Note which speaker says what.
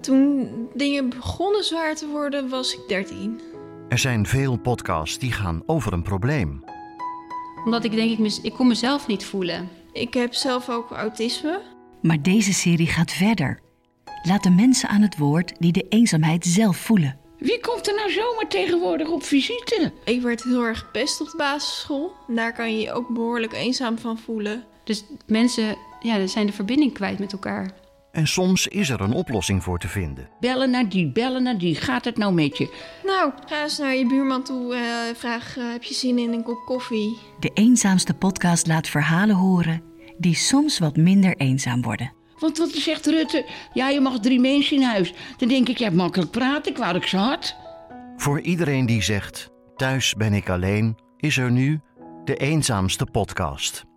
Speaker 1: Toen dingen begonnen zwaar te worden, was ik 13.
Speaker 2: Er zijn veel podcasts die gaan over een probleem.
Speaker 3: Omdat ik denk, ik, mis- ik kon mezelf niet voelen.
Speaker 1: Ik heb zelf ook autisme.
Speaker 4: Maar deze serie gaat verder. Laat de mensen aan het woord die de eenzaamheid zelf voelen.
Speaker 5: Wie komt er nou zomaar tegenwoordig op visite?
Speaker 1: Ik werd heel erg gepest op de basisschool. Daar kan je je ook behoorlijk eenzaam van voelen.
Speaker 3: Dus mensen ja, zijn de verbinding kwijt met elkaar.
Speaker 2: En soms is er een oplossing voor te vinden.
Speaker 5: Bellen naar die, bellen naar die. Gaat het nou met je?
Speaker 1: Nou, ga eens naar je buurman toe. eh, vraag, eh, heb je zin in een kop koffie?
Speaker 4: De eenzaamste podcast laat verhalen horen die soms wat minder eenzaam worden.
Speaker 5: Want wat zegt Rutte? Ja, je mag drie mensen in huis. Dan denk ik, jij hebt makkelijk praten, kwaad ik ze hard.
Speaker 2: Voor iedereen die zegt: Thuis ben ik alleen, is er nu de eenzaamste podcast.